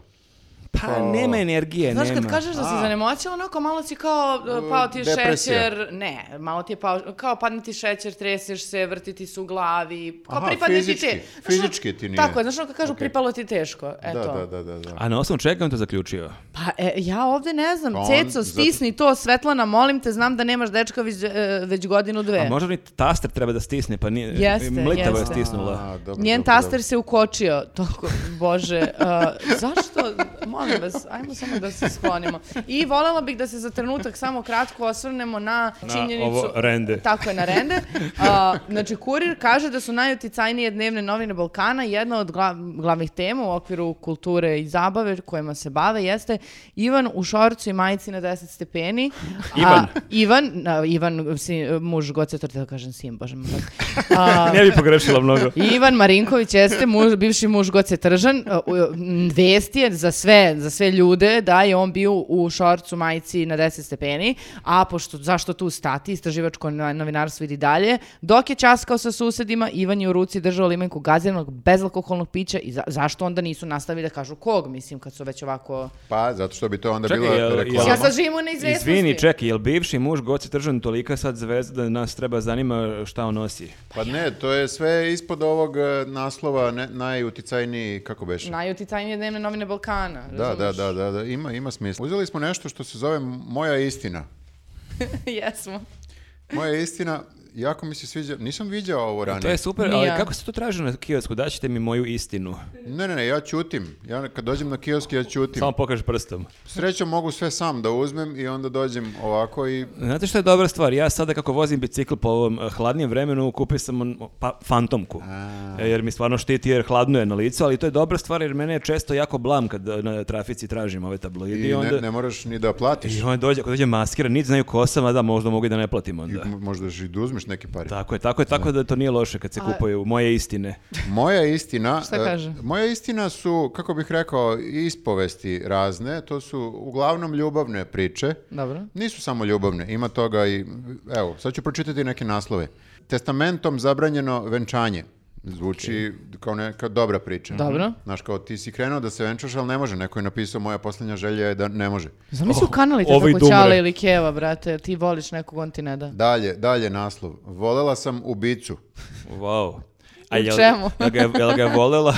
Pa nema energije, Znaš, nema. kad kažeš da si zanemoćala, onako malo si kao, e, pao ti je Mm, Depresija. šećer, ne, malo ti je pao, kao padne ti šećer, treseš se, vrti ti se u glavi, kao Aha, pripadne ti fizički. te. Znaš, Fizički ti nije. Tako je, znaš, ono kad kažu Ok. pripalo ti teško, eto. Da, da, da, da. da. A na osnovu čega je on to zaključio? Pa e, ja ovdje ne znam, Pa on- Ceco, stisni to, Svetlana, molim te, znam da nemaš dečka već, e, već godinu dve. A Pa možda ni taster treba da stisne, pa nije, Jeste, mlitava je jeste. stisnula. A, dobro, Njen dobro, taster dobro. se ukočio, toko, bože, a, zašto, molim vas, ajmo samo da se sklonimo. I voljela bih da se za trenutak samo kratko osvrnemo na činjenicu. ovo rende. Tako je, na rende. A, znači, kurir kaže da su najuticajnije dnevne novine Balkana. Jedna od glav- glavnih tema u okviru kulture i zabave kojima se bave jeste Ivan u šorcu i majici na 10 stepeni. Ivan. A, Ivan, a, Ivan, si- muž Goce Tortela, kažem sin, bože moj. A, Ne bi pogrešila mnogo. Ivan Marinković jeste muž, bivši muž Goce Tržan. Uh, u- m, Vest je za sve, za sve ljude da je on bio u šorcu majici na 10 stepeni, a pošto, zašto tu stati, istraživačko na- novinarstvo vidi dalje. Dok je časkao sa susedima, Ivan je u ruci držao limenku gaziranog bezalkoholnog pića i za- zašto onda nisu nastavili da kažu kog, mislim, kad su već ovako... Pa, zato što bi to onda Čekaj, bila jel- jel- reklama. Ja sad živim u neizvjesnosti. Izvini, čekaj, jel bivši muž Goci Tržan tolika sad zvezda da nas treba zanima šta on nosi? Pa ne, to je sve ispod ovog e, naslova ne, najuticajniji, kako beše? Najuticajnije dnevne novine Balkana. Da, da, razumeš? da, da, da, ima, ima smisla. Uzeli smo nešto što se zove Moja istina. Jesmo. Moja istina, jako mi se sviđa, nisam viđao ovo To ranije. je super, Ni ali ja. kako se to traži na kiosku? Daćete mi moju istinu. Ne, ne, ne, ja ćutim. Ja kad dođem na kiosk, ja ćutim. Samo pokaži prstom. Srećom mogu sve sam da uzmem i onda dođem ovako i Znate što je dobra stvar? Ja sada kako vozim bicikl po ovom eh, hladnijem vremenu, kupio sam on- pa, fantomku. E, Jer mi stvarno štiti jer hladno je na licu, ali to je dobra stvar jer mene je često jako blam kad eh, na trafici tražim ove I tabloidi. ne, onda... ne moraš ni da platiš. I on dođe, ako dođe maskira, niti znaju ko sam, a da možda mogu i da ne platim onda. M- Možda i da uzmeš neke pare. Tako je, tako je, tako da to nije loše kad se kupaju moje istine. Moja istina... Šta e, kaže? Moja istina su, kako bih rekao, ispovesti razne. To su uglavnom ljubavne priče. Dobro. Nisu samo ljubavne, ima toga i... Evo, sad ću pročitati neke naslove. Testamentom zabranjeno venčanje. Zvuči kao neka dobra priča. Dobro. Znaš, kao ti si krenuo da se venčaš, ali ne može. Neko je napisao, moja posljednja želja je da ne može. Znam su kanali te ovaj tako dumre. Ćale ili Keva, brate, ti voliš nekog, on ti ne da. Dalje, dalje naslov. Volela sam ubicu. Wow. A U jel, čemu? jel ga, je- jel ga je volela?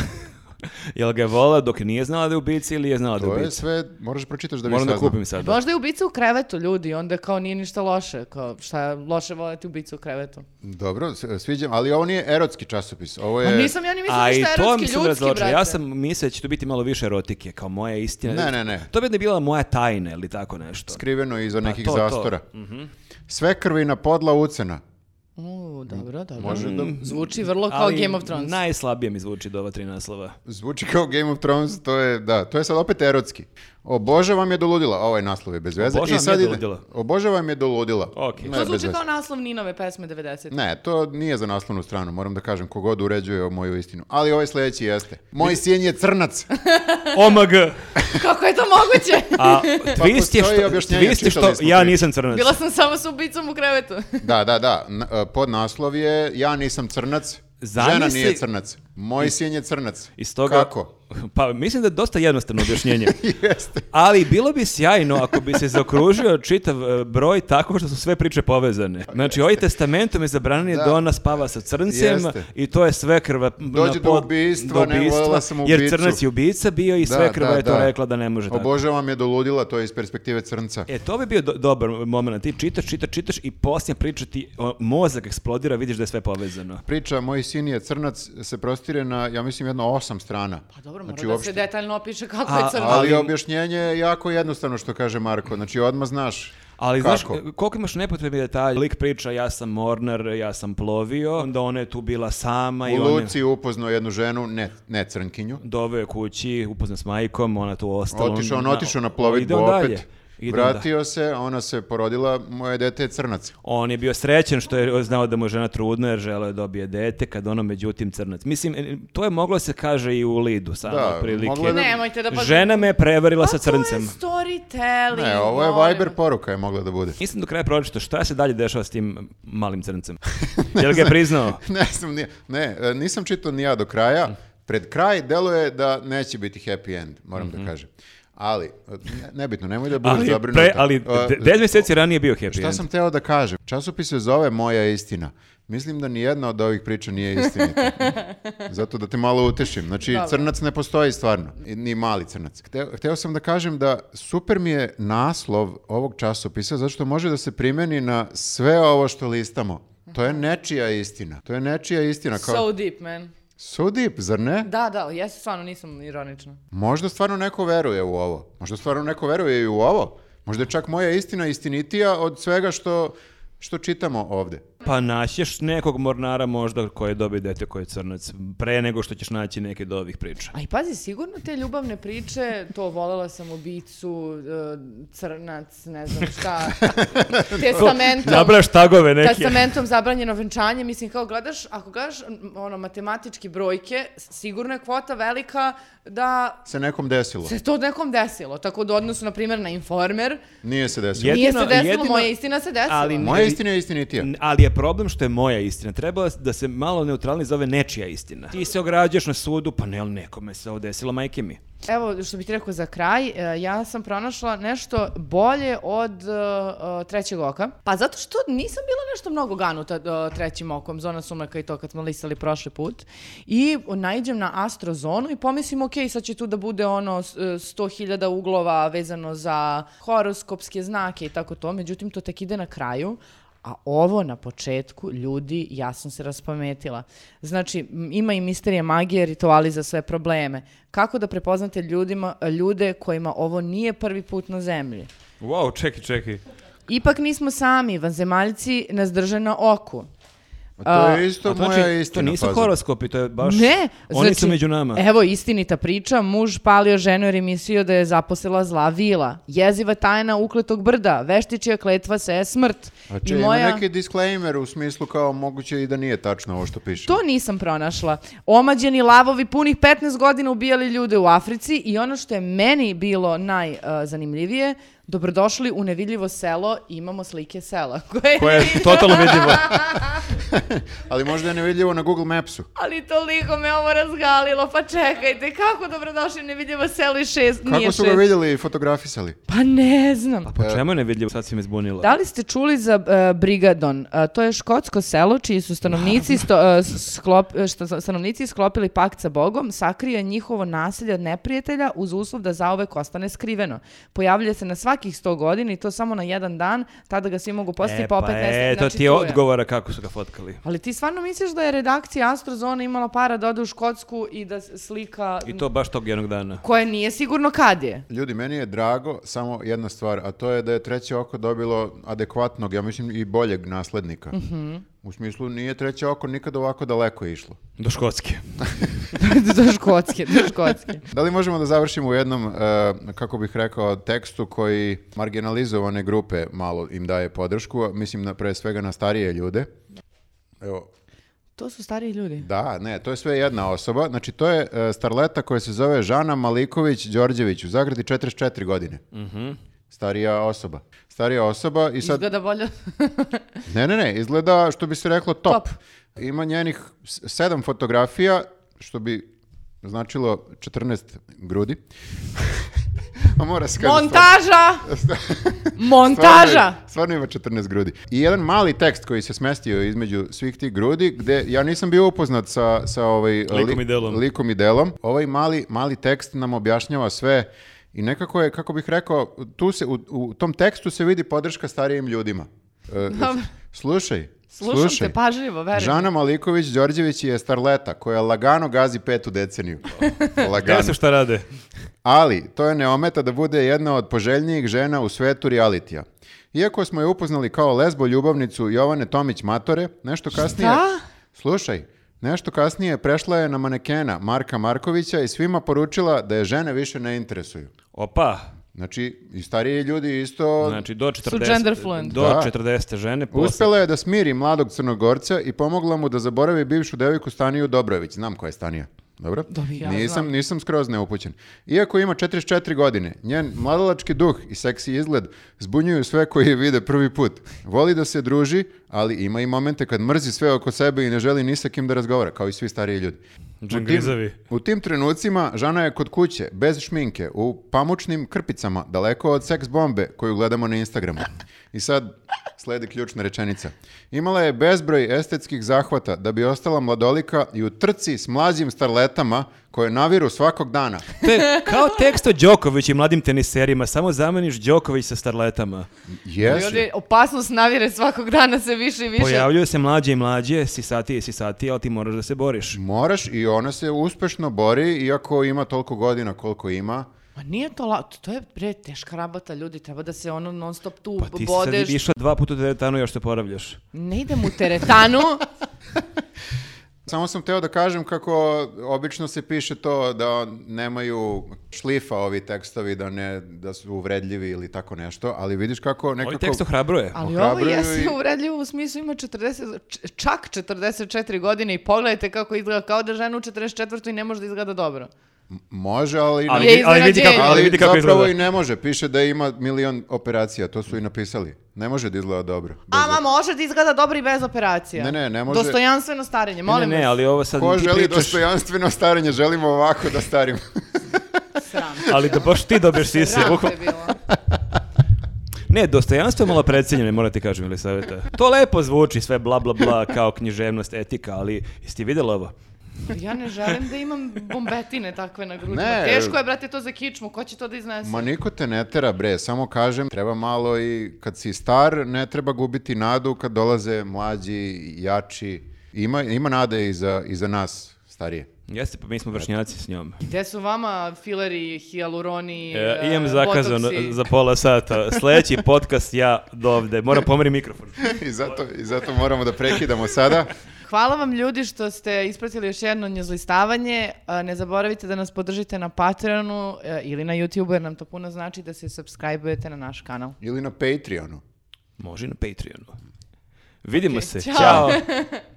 jel ga je volela dok nije znala da je ubici ili je znala da je To je ubici? sve, moraš pročitaš da bi Moram da saznao. kupim sad. da. Možda je ubica u krevetu ljudi, onda kao nije ništa loše, kao šta je loše voleti ubicu u krevetu. Dobro, s- sviđam, ali ovo nije erotski časopis. Ovo A je... Pa nisam ja ni mislila E, A i ništa to mi erotski, se ljudski, brate. Ja sam mislio da će tu biti malo više erotike, kao moja istina. Ne, ne, ne. To bi ne bila moja tajna ili tako nešto. Skriveno iza nekih Pa to, Mhm. to. zastora. Sve krvina podla ucena. U, dobro, dobro. Mm, Može da... Zvuči vrlo kao Game of Thrones. najslabije mi zvuči do ova tri naslova. Zvuči kao Game of Thrones, to je, da, to je sad opet erotski. Obožavam je doludila, ovaj naslov je bez veze. Obožavam I sad je ide- doludila. Obožavam je doludila. Ok. Ne, To bez zvuči veze. kao naslov Ninove pesme 90. Ne, to nije za naslovnu stranu, moram da kažem, kogod uređuje o moju istinu. Ali ovaj sljedeći jeste. Moj sin je crnac. OMG! Kako je to moguće? A twist je Pa postoji što, objašnjenje, twist je što čitali smo ja prije. nisam crnac. Bila sam samo s ubicom u krevetu. Da, da, da. N- e, podnaslov je Ja nisam crnac, žena Zamisli- nije crnac. Moj sin je crnac. Iz toga, Kako? Pa mislim da je dosta jednostavno objašnjenje. Ali bilo bi sjajno ako bi se zaokružio čitav e, broj tako što su sve priče povezane. Znači, ovaj testamentom je zabranio da, Da. ona spava sa crncem Jeste. i to je sve krva... Dođe do ubistva, ne, voljela sam Jer ubicu. crnac je ubica bio i Da, sve krva da, je to da. rekla da ne može tako. Obožavam je doludila, to je iz perspektive crnca. E, to bi bio do- dobar moment. Ti čitaš, čitaš, čitaš i poslije priča ti o, mozak eksplodira, vidiš da je sve povezano. Priča Moj sin je crnac se prostire na, ja mislim, jedno osam strana. Pa dobro, mora Znači, da uopšte- se detaljno opiše kako A- je crno. Ali Ali- objašnjenje je jako jednostavno što kaže Marko. Znači, odmah znaš Ali kako. znaš, koliko imaš nepotrebnih detalja. Lik priča, ja sam mornar, ja sam plovio, onda ona je tu bila sama i U ona Luci upoznao jednu ženu, ne, ne crnkinju. doveo je kući, upozna s majkom, ona tu ostala. Otišao, on na- otišao na ide plovidbu on dalje, opet. ide on dalje. Vratio se, ona se porodila, moje dete je crnac. On je bio srećen što je znao da mu je žena trudna jer želeo je dobije dete, kad ono međutim crnac. Mislim, e, to je moglo se kaže i u Lidu, samo Da, otprilike. moglo je da- Nemojte da... Žena me je prevarila sa Pa to je crncem. storytelling. Ne, ovo je molim Viber vas. poruka je mogla da bude. Nisam do kraja pročito šta se dalje dešava s tim malim crncem. Jel ga je priznao? ne znam, nije- ne, e, nisam čitao ni ja do Mm. kraja. Pred kraj deluje da neće biti happy end, moram da kažem. Ali, e, ne- nebitno, nemoj da budeš Mhm. Ali, zabrinuta. pre, ali E, 10 mjeseci ranije je bio happy Šta end. sam teo da kažem? Časopis se zove Moja istina. Mislim da nijedna od ovih priča nije istinita. Zato da te malo utešim. Znači, crnac ne postoji stvarno. I Ni mali crnac. Hteo, hteo sam da kažem da super mi je naslov ovog časopisa zato što može da se primeni na sve ovo što listamo. To je nečija istina. To je nečija istina. Kao... So, So deep, man. deep, zar ne? Da, da, ja se stvarno nisam ironična. Možda stvarno neko veruje u ovo. Možda stvarno neko veruje i u ovo. Možda je čak moja istina istinitija od svega što, što čitamo ovde. Pa naćeš nekog mornara možda koji je dobio dete koji je crnac, pre nego što ćeš naći neke od ovih priča. A i pazi, sigurno te ljubavne priče, to volela sam ubicu, e, crnac, ne znam šta, testamentom. Nabraš tagove neke. Testamentom zabranjeno venčanje, mislim kao gledaš, ako gledaš m, ono matematički brojke, sigurno je kvota velika da Se nekom desilo. se to nekom desilo. Tako da u odnosu, na primjer, na informer, Nije se desilo. Je- nije Jedino- se desilo, jedino- moja istina se desila. ali Moja istina je istinitija. N- Ali je problem što je moja istina. Treba da se malo neutralni zove nečija istina. Ti se ograđuješ na sudu, pa ne, ali nekome se ovo desilo, majke mi. Evo, što bih ti rekao za kraj, e, ja sam pronašla nešto bolje od e, e, trećeg oka. Pa zato što nisam bila nešto mnogo ganuta e, trećim okom, zona sumraka i to kad smo listali prošli put. I naiđem na astrozonu i pomislim, ok, sad će tu da bude ono s- e, 100.000 uglova vezano za horoskopske znake i tako to, međutim to tek ide na kraju. A ovo na početku, ljudi, ja sam se raspametila. Znači, m, ima i misterije magije, rituali za sve probleme. Kako da prepoznate ljudima, ljude kojima ovo nije prvi put na zemlji? Wow, čeki, čeki. Ipak nismo sami, vanzemaljci nas drže na oku. To je isto To, moja znači, to istina. nisu faza. horoskopi, to je baš... Ne, Oni znači, su među nama. Evo, istinita priča, muž palio ženu jer je mislio da je zaposela zla vila. Jeziva tajna ukletog brda, veštičija kletva se je smrt. A I če, moja- Znači, ima neki disclaimer u smislu kao moguće i da nije tačno ovo što piše. To nisam pronašla. Omađeni lavovi punih 15 godina ubijali ljude u Africi i ono što je meni bilo najzanimljivije, Dobrodošli u nevidljivo selo, imamo slike sela. Koje, Koje je totalno vidljivo. Ali možda je nevidljivo na Google Mapsu. Ali toliko me ovo razgalilo, pa čekajte, kako dobrodošli u nevidljivo selo i šest, nije Kako su ga šest. vidjeli i fotografisali? Pa ne znam. A po čemu je nevidljivo? Sad si me zbunila. Da li ste čuli za e, Brigadon? E, to je škotsko selo čiji su stanovnici, sto, e, sklop, e, što su stanovnici sklopili pakt sa Bogom, sakrio je njihovo nasilje od neprijatelja uz uslov da zaovek ostane skriveno. Pojavlja se na svakih 100 godina i to samo na jedan dan, tada ga svi mogu postiti, E, pa pa opet ne e, znači, to ti je tu je. odgovora kako su ga fotkali. Ali ti stvarno misliš da je redakcija Astrozona imala para da ode u Škotsku i da s- slika I to baš tog jednog dana. koje nije sigurno kad je? Ljudi, meni je drago samo jedna stvar, a to je da je treće oko dobilo adekvatnog, ja mislim i boljeg naslednika. U smislu, nije treće oko nikad ovako daleko išlo. Do Škotske. do Škotske, do Škotske. Da li možemo da završimo u jednom, e, kako bih rekao, tekstu koji marginalizovane grupe malo im daje podršku, a mislim na, pre svega na starije ljude. Evo, To su stariji ljudi. Da, ne, to je sve jedna osoba. Znači, to je e, starleta koja se zove Žana Maliković Đorđević, u zagradi 44 godine. Starija osoba. Starija osoba i sad... Izgleda bolje. Ne, ne, ne, izgleda, što bi se reklo, top. Top. Ima njenih s- sedam fotografija, što bi značilo 14 grudi. A mora se kaže Montaža! Stvarno, Montaža! stvarno ima 14 grudi. I jedan mali tekst koji se smestio između svih tih grudi, gde ja nisam bio upoznat sa, sa ovaj, Likom i delom. likom i delom. Ovaj mali, mali tekst nam objašnjava sve i nekako je, kako bih rekao, tu se, u, u tom tekstu se vidi podrška starijim ljudima. E, Dobro. Slušaj, Slušam slušaj. te pa, pažljivo, verujem. Žana Maliković Đorđević je starleta koja lagano gazi petu deceniju. Gledaj lagano. se šta rade. Ali, to je ne ometa da bude jedna od poželjnijih žena u svetu realitija. Iako smo je upoznali kao lesbo ljubavnicu Jovane Tomić Matore, nešto kasnije... Šta? Slušaj, nešto kasnije prešla je na manekena Marka Markovića i svima poručila da je žene više ne interesuju. Opa. Znači, i stariji ljudi isto... Znači, do 40... gender fluent. Do Da. 40 žene. posle- Uspela je da smiri mladog crnogorca i pomogla mu da zaboravi bivšu devojku Staniju Dobrović. Znam koja je Stanija. Dobro? Dobi, ja nisam, znam. nisam skroz neupućen. Iako ima 44 godine, njen mladalački duh i seksi izgled zbunjuju sve koji je vide prvi put. Voli da se druži, ali ima i momente kad mrzi sve oko sebe i ne želi ni sa kim da razgovara, kao i svi stariji ljudi. U tim- Džangrizavi. u tim trenucima Žana je kod kuće, bez šminke, u pamučnim krpicama, daleko od seks bombe koju gledamo na Instagramu. I sad sledi ključna rečenica. Imala je bezbroj estetskih zahvata da bi ostala mladolika i u trci s mlađim starletama koje naviru svakog dana. To je kao tekst o Đoković i mladim teniserima. Samo zameniš Đoković sa starletama. Jesi. Ljudi, opasnost navire svakog dana se više i više. Pojavljuju se mlađe i mlađe, sisatije i sisatije, ali ti moraš da se boriš. Moraš i ona se uspešno bori, iako ima toliko godina koliko ima. Ma nije to la... To je pre teška rabata, ljudi. Treba da se ono non stop tu Pa ti si sad bodeš. išla dva puta u teretanu i još se poravljaš. Ne idem u teretanu. Samo sam teo da kažem kako obično se piše to da nemaju šlifa ovi tekstovi, da, ne, da su uvredljivi ili tako nešto, ali vidiš kako nekako... Ovaj tekst ohrabruje. Ali ovo Ohrabruju jeste i- uvredljivo u smislu ima 40, č- čak 44 godine i pogledajte kako izgleda kao da žena u 44. i ne može da izgleda dobro. Može, ali... ne- Ali, Je vidi- ali vidi kako, iznenađenje. ali vidi kako zapravo izgleda. i ne može. Piše da ima milion operacija, to su i napisali. Ne može da izgleda dobro. bez- A, ma, može da izgleda dobro i bez operacija. Ne, ne, ne može- Dostojanstveno starenje, Ne, molim ne, vas. ali ovo sad Ko ti želi pričaš, dostojanstveno starenje, želimo ovako da starimo. Sram. ali da baš ti dobiješ sise. Sram bukvalno. te bilo. Ne, dostojanstvo je malo precenjeno, moram ti kažem, ili savjeta. To lepo zvuči, sve bla bla bla, kao književnost, etika, ali jesi vidjela ovo? Ja ne želim da imam bombetine takve na grudima. Ne. Teško je, brate, to za kičmu. Ko će to da iznese? Ma niko te ne tera, bre, samo kažem, treba malo i kad si star, ne treba gubiti nadu kad dolaze mlađi, jači. Ima, ima nade i za, i za nas, starije. Jeste, pa mi smo vršnjaci s njom. Gde su vama fileri, hialuroni, E, e, imam zakazan botoksi? za pola sata. Sljedeći podcast ja do ovde. Moram pomeri mikrofon. I zato, I zato moramo da prekidamo sada. Hvala vam ljudi što ste ispratili još jedno njezlistavanje. E, Ne zaboravite da nas podržite na Patreonu e, ili na YouTubeu jer nam to puno znači da se subscribe-ujete na naš kanal. Ili na Patreonu. Može i na Patreonu. Vidimo se. Ćao. Ćao.